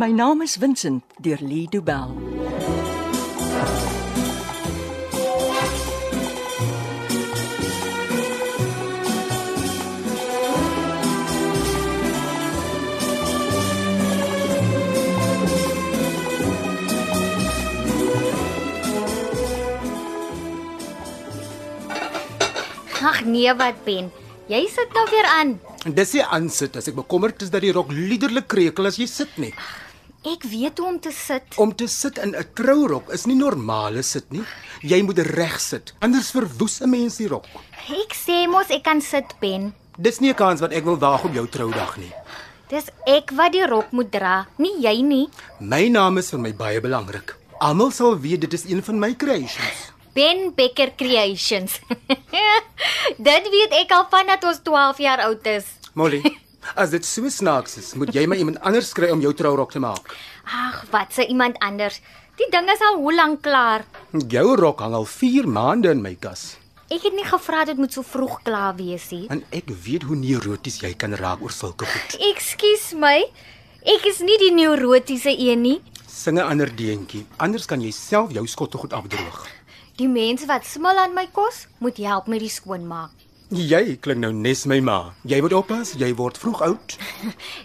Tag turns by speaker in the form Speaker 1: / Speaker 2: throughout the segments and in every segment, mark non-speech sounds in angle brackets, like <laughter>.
Speaker 1: My naam is Vincent deur Lee Du Bell.
Speaker 2: Ag nee, wat Ben. Jy sit nou weer aan.
Speaker 3: En dis nie aansit as ek bekommerd is dat die rok liderlik krekel as jy sit nie.
Speaker 2: Ek weet hoe om te sit.
Speaker 3: Om te sit in 'n trourok is nie normale sit nie. Jy moet reg sit, anders verwoes 'n mens die rok.
Speaker 2: Ek sê mos ek kan sit, Ben.
Speaker 3: Dis nie 'n kans wat ek wil waag op jou troudag nie.
Speaker 2: Dis ek wat die rok moet dra, nie jy nie.
Speaker 3: My naam is vir my baie belangrik. Almal sal weet dit is een van my creations.
Speaker 2: Ben Becker Creations. <laughs> Dit weet ek al van dat ons 12 jaar oud is.
Speaker 3: Molly, as dit so snaaks is, moet jy my iemand anders kry om jou trourok te maak.
Speaker 2: Ag, wat se iemand anders. Die ding is al hoe lank klaar.
Speaker 3: Jou rok hang al 4 maande in my kas
Speaker 2: Ek het nie gevra dit moet so vroeg klaar wees nie.
Speaker 3: en ek weet hoe neuroties jy kan raak oor sulke goed.
Speaker 2: Ekskuus my. Ek is nie die neurotiese een nie.
Speaker 3: Sing 'n ander deentjie, anders kan jy self jou skotte goed afdroog.
Speaker 2: Die mense wat smil aan my kos, moet help met die skoonmaak.
Speaker 3: Jy klink nou nes my ma. Jy moet oppas, jy word vroeg oud.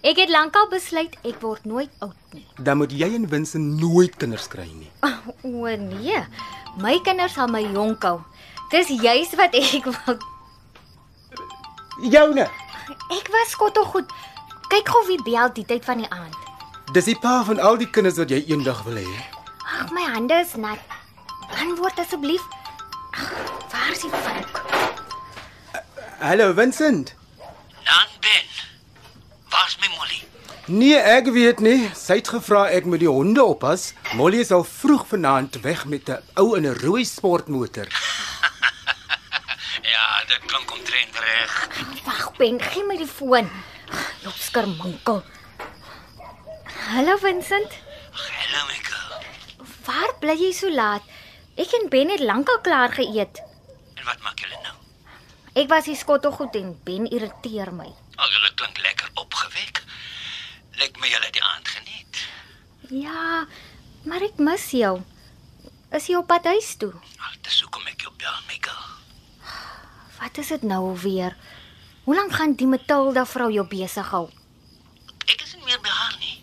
Speaker 2: Ek het lankal besluit ek word nooit oud nie. <laughs>
Speaker 3: Dan moet jy en Vincent nooit kinders kry nie.
Speaker 2: O nee, my kinders sal my jonk hou. Dis juis wat ek <laughs> wil.
Speaker 3: Joune,
Speaker 2: Ek was skottel goed. Kyk gou wie bel die tyd van die aand.
Speaker 3: dis die pa van al die kinders wat jy eendag wil hê.
Speaker 2: Ag, my hande is nat. Antwoord asseblief. Ag, Waar is die vark?
Speaker 3: Hallo Vincent.
Speaker 4: Dan Ben. Waar's my Molly?
Speaker 3: Nee, ek weet nie. Sy het gevra ek moet die honde oppas. Molly is al vroeg vanaand weg met 'n ou in 'n rooi sportmotor.
Speaker 4: Ja, dit klink omtrent reg.
Speaker 2: Wag, Ben, gee my die foon. Jop skerminkel. Hallo Vincent.
Speaker 4: Hallo my girl.
Speaker 2: Waar bly jy so laat? Ek en Ben het lankal klaar geëet.
Speaker 4: En wat maak julle nou?
Speaker 2: Ek was die skottel goed en Ben irriteer my.
Speaker 4: Al julle klink lekker opgewek. Lyk my julle het die aand geniet.
Speaker 2: Ja, maar ek mis jou. Is jy op pad huis toe?
Speaker 4: Al dis hoekom ek jou bel, my girl.
Speaker 2: Wat is dit nou weer? Hoe lank gaan die Matilda vrou jou besig hou?
Speaker 4: Ek is nie meer by haar nie.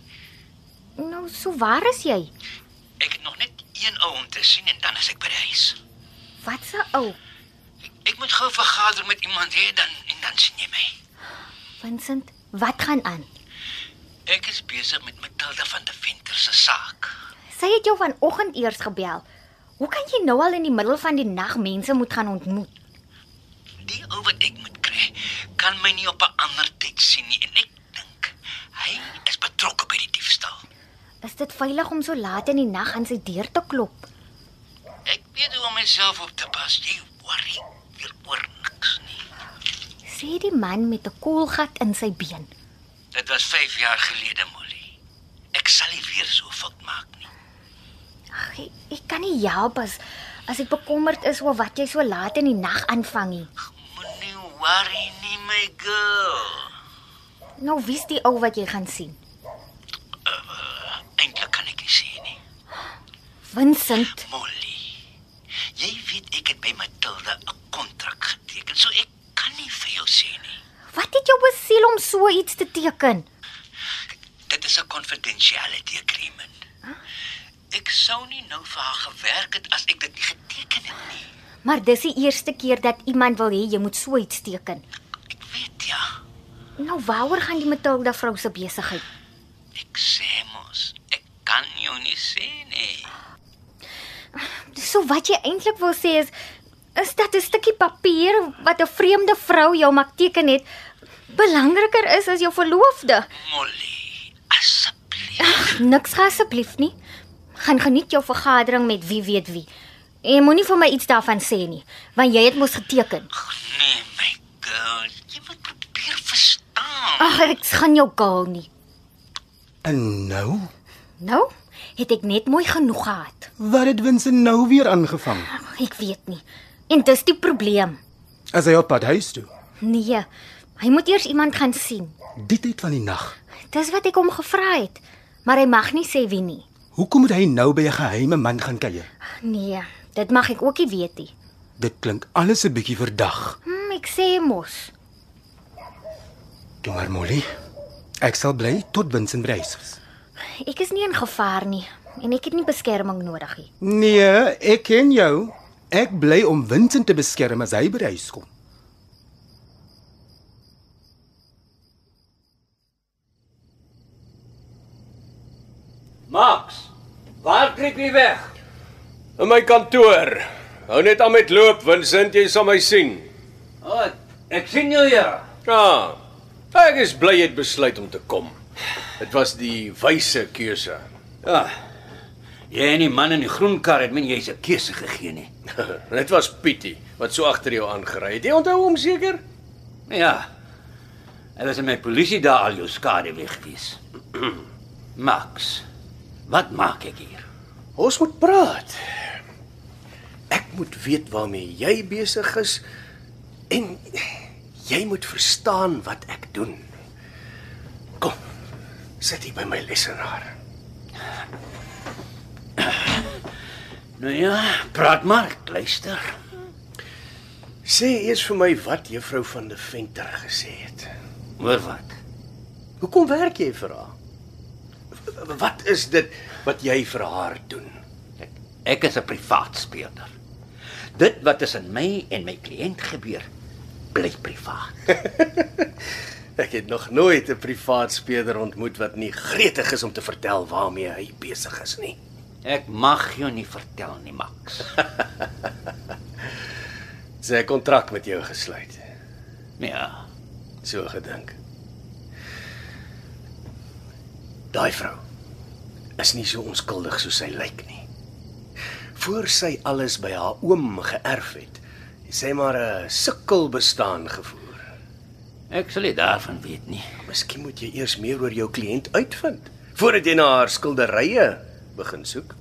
Speaker 2: Nou, so waar is jy?
Speaker 4: Ek het nog net een ou om te sien en dan is ek by die huis.
Speaker 2: Wat se ou?
Speaker 4: Ek, ek moet gou vergader met iemand hê dan en dan sien jy my.
Speaker 2: Vincent, wat gaan aan?
Speaker 4: Ek is besig met Matilda van die Venter se saak.
Speaker 2: Sy het jou vanoggend eers gebel. Hoe kan jy nou al in die middel van die nag mense moet gaan ontmoet?
Speaker 4: Die ou wat ek moet kry, kan my nie op 'n ander tyd sien nie en ek dink hy is betrokke by die diefstal.
Speaker 2: Is dit veilig om so laat in die nag aan sy deur te klop?
Speaker 4: Ek weet hoe om myself op te pas. Jy worry hier oor niks nie.
Speaker 2: Sê die man met 'n koelgat in sy been.
Speaker 4: Dit was 5 jaar gelede, Molly. Ek sal nie weer so 'n fout maak nie.
Speaker 2: Ag, ek, ek kan nie help as as ek bekommerd is oor wat jy so laat in die nag aanvang nie.
Speaker 4: Moenie worry nie, my girl.
Speaker 2: Nou wie's die ou wat jy gaan sien?
Speaker 4: Eintlik kan ek nie sê nie.
Speaker 2: Vincent.
Speaker 4: Molly. Jy weet ek het by Matilda 'n kontrak geteken, so ek kan nie vir jou sê nie.
Speaker 2: Wat het jou besiel om so iets te teken?
Speaker 4: Dit is 'n confidentiality agreement. Ek sou nie nou vir haar gewerk het as ek dit nie geteken het nie.
Speaker 2: Maar dis die eerste keer dat iemand wil hê jy moet so iets teken.
Speaker 4: Ek weet ja.
Speaker 2: Nou waaroor gaan die Matilda vrou se besigheid?
Speaker 4: Ek sê mos, ek kan jou nie sê nie.
Speaker 2: So wat jy eintlik wil sê is is dat 'n stukkie papier wat 'n vreemde vrou jou maak teken het belangriker is as jou verloofde.
Speaker 4: Molly, asseblief.
Speaker 2: Niks gaan asseblief nie. Gaan geniet jou vergadering met wie weet wie. En jy moenie vir my iets daarvan sê nie, want jy het mos geteken.
Speaker 4: Nee, my girl, jy moet probeer verstaan.
Speaker 2: Ag, ek gaan jou gaal nie.
Speaker 3: En nou,
Speaker 2: Nou, het ek net mooi genoeg gehad.
Speaker 3: wat het Vincent nou weer aangevang?
Speaker 2: Ag, Ek weet nie. En dis die probleem.
Speaker 3: As hy op pad huis toe,
Speaker 2: Nee, hy moet eers iemand gaan sien.
Speaker 3: die tyd van die nag.
Speaker 2: Dis wat ek hom gevra het. maar hy mag nie sê wie nie.
Speaker 3: Hoekom moet hy nou by 'n geheime man gaan kuier?
Speaker 2: Nee, dit mag ek ook nie weet nie.
Speaker 3: Dit klink alles 'n bietjie verdag.
Speaker 2: Hm, ek sê mos.
Speaker 3: Toe maar Molly. Ek sal bly tot Vincent by huis is.
Speaker 2: Ek is nie in gevaar nie en ek het nie beskerming nodig nie.
Speaker 3: Nee, ek ken jou. Ek bly om Vincent te beskerm as hy by huis kom.
Speaker 4: Max, waar kruip jy weg?
Speaker 5: In my kantoor. Hou net aan met loop, Vincent, jy sal my sien.
Speaker 4: O, oh, ek sien jou ja.
Speaker 5: Ja. Ek is bly jy het besluit om te kom. Dit was die wyse keuse.
Speaker 4: Ja. Jy en die man in die groen kar het min jy's 'n keuse gegee nie.
Speaker 5: Dit was Pietie wat so agter jou aangery het. Jy onthou hom seker?
Speaker 4: Ja. Hy was in my polisie daar al jou skade weg gewees. <clears throat> Max, wat maak ek hier?
Speaker 5: Ons moet praat. Ek moet weet waarmee jy besig is en jy moet verstaan wat ek doen. Kom. Sit hier by my lesenaar.
Speaker 4: Nou ja, praat maar, ek luister.
Speaker 5: Sê eers vir my wat juffrou van der Venter gesê het.
Speaker 4: Hoor wat?
Speaker 5: Hoekom werk jy vir haar? W- Wat is dit wat jy vir haar doen?
Speaker 4: Ek, ek is 'n privaat speurder. Dit wat tussen my en my kliënt gebeur, bly privaat.
Speaker 5: Ek het nog nooit 'n privaat speeder ontmoet wat nie gretig is om te vertel waarmee hy besig is nie.
Speaker 4: Ek mag jou nie vertel nie, Max. <laughs>
Speaker 5: Sy het 'n kontrak met jou gesluit.
Speaker 4: Ja.
Speaker 5: So gedink. Daai vrou is nie so onskuldig soos sy lyk nie. Voor sy alles by haar oom geërf het, het sy maar 'n sukkel bestaan gevoer.
Speaker 4: Ek sal nie daarvan weet nie.
Speaker 5: Miskien moet jy eers meer oor jou kliënt uitvind voordat jy na haar skilderye begin soek.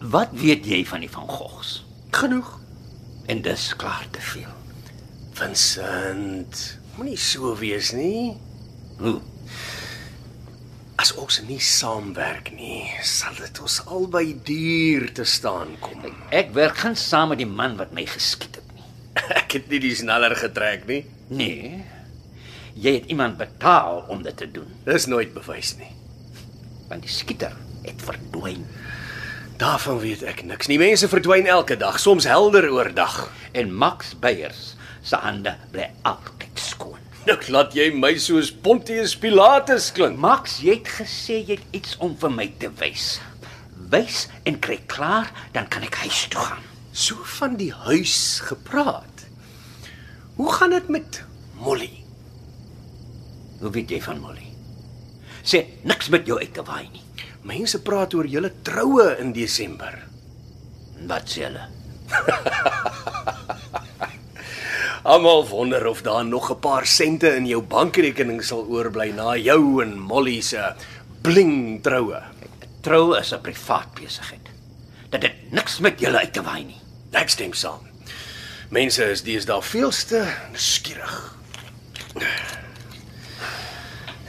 Speaker 4: Wat weet jy van die van Gogs?
Speaker 5: Genoeg.
Speaker 4: En dis klaar te veel.
Speaker 5: Vincent, moenie so wees nie.
Speaker 4: Hoe?
Speaker 5: As ons nie saamwerk nie, sal dit ons albei duur te staan kom.
Speaker 4: Ek werk geen saam met die man wat my geskiet het nie.
Speaker 5: <laughs> Ek het nie die sneller getrek nie.
Speaker 4: Nee. Jy het iemand betaal om dit te doen,
Speaker 5: Dis nooit bewys nie.
Speaker 4: want die skieter het verdwyn.
Speaker 5: Daarvan weet ek niks. Nie mense verdwyn elke dag, soms helder oordag.
Speaker 4: en Max Beyers se hande bly altyd skoon.
Speaker 5: <laughs> Nou laat jy my soos Pontius Pilatus klink.
Speaker 4: Max, jy het gesê jy het iets om vir my te wys. Wys en kry klaar, dan kan ek huis toe gaan.
Speaker 5: So van die huis gepraat. Hoe gaan dit met Molly?
Speaker 4: Hoe weet jy van Molly? Sê niks met jou uit te waai nie.
Speaker 5: Mense praat oor julle troue in Desember.
Speaker 4: Wat sê hulle?
Speaker 5: Almal wonder of daar nog 'n paar sente in jou bankrekening sal oorbly na jou en Molly se bling troue.
Speaker 4: Trou is 'n privaat besigheid. Dit het niks met julle uit te waai nie.
Speaker 5: Ek stem saam. Mense is deesdae veelste nuuskierig.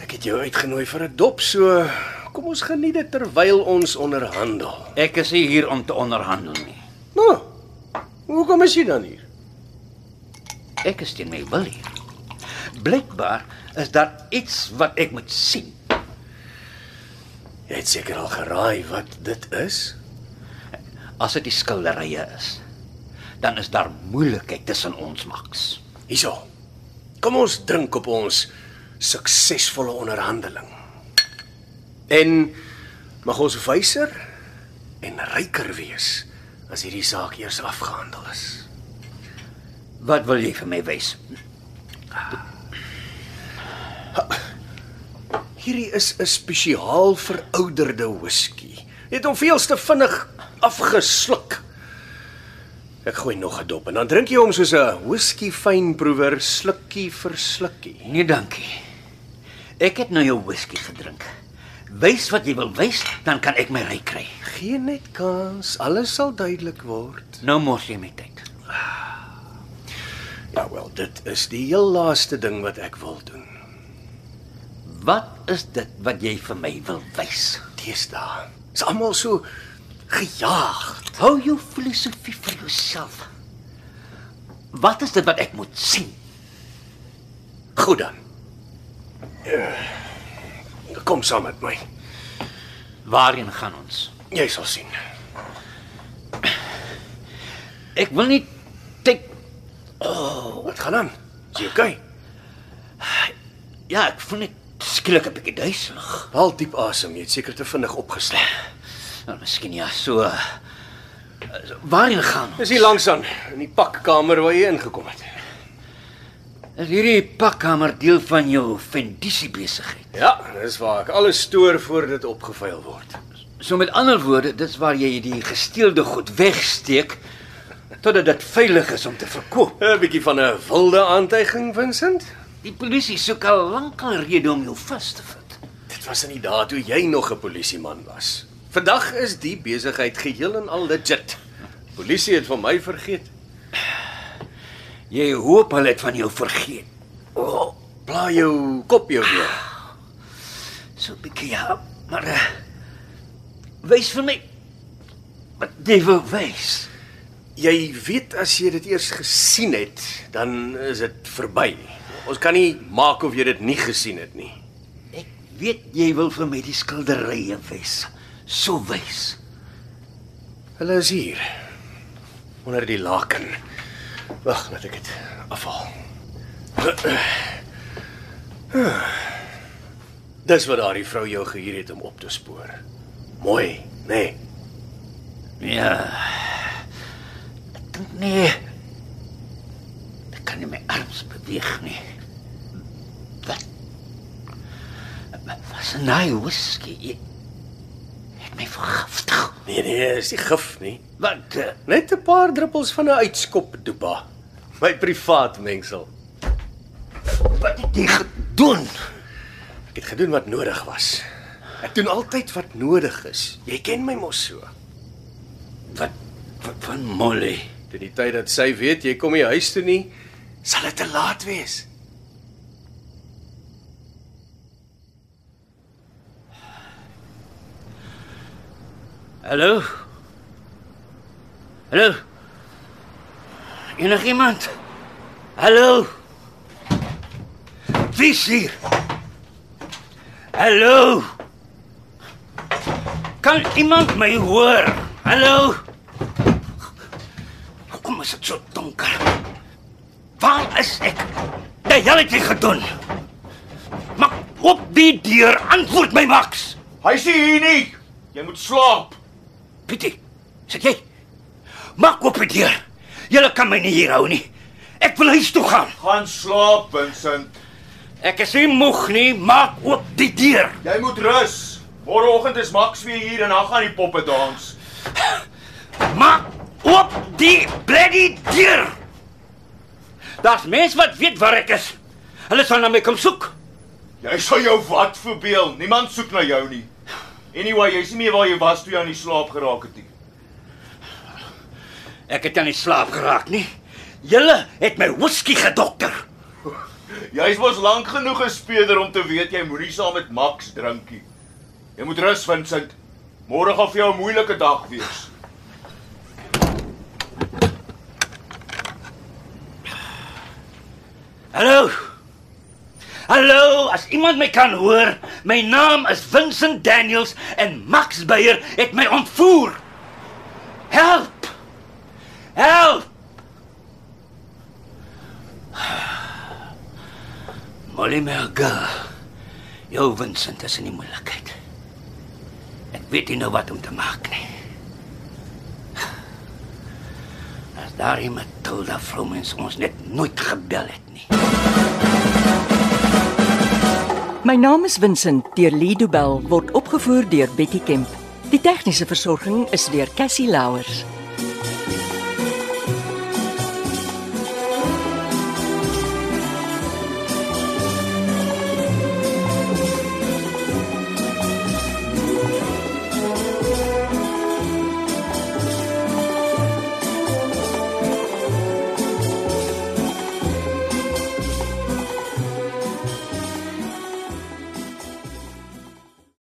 Speaker 5: Ek het jou uitgenooi vir 'n dop, so kom ons geniet dit terwyl ons onderhandel.
Speaker 4: Ek is nie hier om te onderhandel nie.
Speaker 5: Nou. Hoekom is jy dan hier?
Speaker 4: Ek is teen my wil hier. Blykbaar is daar iets wat ek moet sien.
Speaker 5: Jy het seker al geraai wat dit is.
Speaker 4: As dit die skilderye is, dan is daar moeilikheid tussen ons maks.
Speaker 5: Hierso. Kom ons drink op ons suksesvolle onderhandeling. En mag ons wyser en ryker wees as hierdie saak eers afgehandel is.
Speaker 4: Wat wil jy vir my wys?
Speaker 5: Hierdie is 'n spesiaal verouderde whisky. Jy het hom veelste vinnig afgesluk. Ek gooi nog 'n dop en dan drink jy hom soos 'n whisky fynproewer slukkie vir slukkie.
Speaker 4: Nee, dankie. Ek het nou jou whisky gedrink. Wys wat jy wil wys, dan kan ek my ry kry.
Speaker 5: Gee net kans, alles sal duidelik word.
Speaker 4: Nou mors jy my tyd.
Speaker 5: Ja wel, dit is die heel laaste ding wat ek wil doen.
Speaker 4: Wat is dit wat jy vir my wil wys?
Speaker 5: Deesdae. Is almal so gejaag.
Speaker 4: Hou jou filosofie vir jouself. Wat is dit wat ek moet sien?
Speaker 5: Goed dan. Kom saam met my.
Speaker 4: Waarheen gaan ons?
Speaker 5: Jy sal sien.
Speaker 4: Ek wil nie tik
Speaker 5: Wat gaan aan? Is jy okay?
Speaker 4: ja, ek voel net skielik 'n bietjie duiselig.
Speaker 5: Haal diep asem, jy het seker te vinnig opgeslaan.
Speaker 4: Nou, miskien ja, so eh, Waarheen gaan ons?
Speaker 5: Dis hier langs aan in die pakkamer waar jy ingekom het.
Speaker 4: Is hierdie pakkamer deel van jou vendisie besigheid?
Speaker 5: Ja, dis waar ek alles stoor voor dit opgevuil word.
Speaker 4: So met ander woorde, dis waar jy die gesteelde goed wegsteek totdat dit veilig is om te verkoop.
Speaker 5: 'n Bietjie van 'n wilde aantuiging, Vincent.
Speaker 4: Die polisie soek al lank 'n rede om jou vas te vat.
Speaker 5: Dit was in die dae toe jy nog 'n polisieman was. Vandag is die besigheid geheel en al legit. Polisie het van my vergeet.
Speaker 4: Jy hoop hulle het van jou vergeet.
Speaker 5: Oh, bla jou kop jou weer.
Speaker 4: So 'n bietjie ja, maar uh, wys vir my wat jy wil wys.
Speaker 5: Jy weet as jy dit eers gesien het, dan is dit verby. Ons kan nie maak of jy dit nie gesien het nie.
Speaker 4: Ek weet jy wil vir my die skilderye wys. So wys.
Speaker 5: Hulle is hier. Onder die laken. Wag, laat ek dit afhaal. Dis wat daardie vrou jou gehuur het om op te spoor. Mooi, nê? Nee.
Speaker 4: Ja. Ek dink nie ek kan nie my arms beweeg nie. Wat? Was 'n naai nou, whisky. Jy het my vergiftig.
Speaker 5: Nee nee, is nie gif nie.
Speaker 4: Wat? Uh,
Speaker 5: Net 'n paar druppels van 'n uitskop dopa. My privaat mengsel.
Speaker 4: wat het jy gedoen?
Speaker 5: Ek het gedoen wat nodig was. Ek doen altyd wat nodig is. Jy ken my mos so.
Speaker 4: Wat, wat van Molly?
Speaker 5: Dit die tyd dat sy weet jy kom nie huis toe nie, sal dit te laat wees.
Speaker 4: Hallo? Hallo? Enigiemand? Hallo? Wie is hier? Hallo? Kan iemand my hoor? Hallo? Hoekom is dit so donker? Waar is ek? Wat het jy gedoen? Maak op die deur, antwoord my Max.
Speaker 6: Hy sê hier nie. Jy moet slaap.
Speaker 4: Pietie, sê jy? Maak op die deur. Julle kan my nie hier hou nie. Ek wil huis toe gaan.
Speaker 6: Gaan slaap, Vincent.
Speaker 4: Ek is nie moeg nie. Maak oop die deur.
Speaker 6: Jy moet rus. Môreoggend is Max weer hier en dan gaan die poppe dans.
Speaker 4: Maak oop die bloody deur. Daar's mense wat weet waar ek is. Hulle sal na my kom soek.
Speaker 6: Jy sal jou wat verbeel. Niemand soek na jou nie. Anyway, jy's nie meer waar jy was toe jy aan die slaap geraak het nie.
Speaker 4: Ek het aan die slaap geraak nie. Julle het my whisky gedokter.
Speaker 6: Jy's mos lank genoeg 'n speeder om te weet jy moenie saam met Max drinkie. Jy moet rus, Vincent. Môre gaan vir jou 'n moeilike dag wees.
Speaker 4: Hallo. Hallo, as iemand my kan hoor, my naam is Vincent Daniels en Max Beyer het my ontvoer. Help! Help! Molly Merga. Jou Vincent is in die moeilikheid. Ek weet nie nou wat om te maak nie. As daardie Matilda Vromens ons net nooit gebel het nie.
Speaker 1: My naam is Vincent deur Lido Bell word opgevoer deur Betty Kemp. Die tegniese versorging is deur Cassie Louers.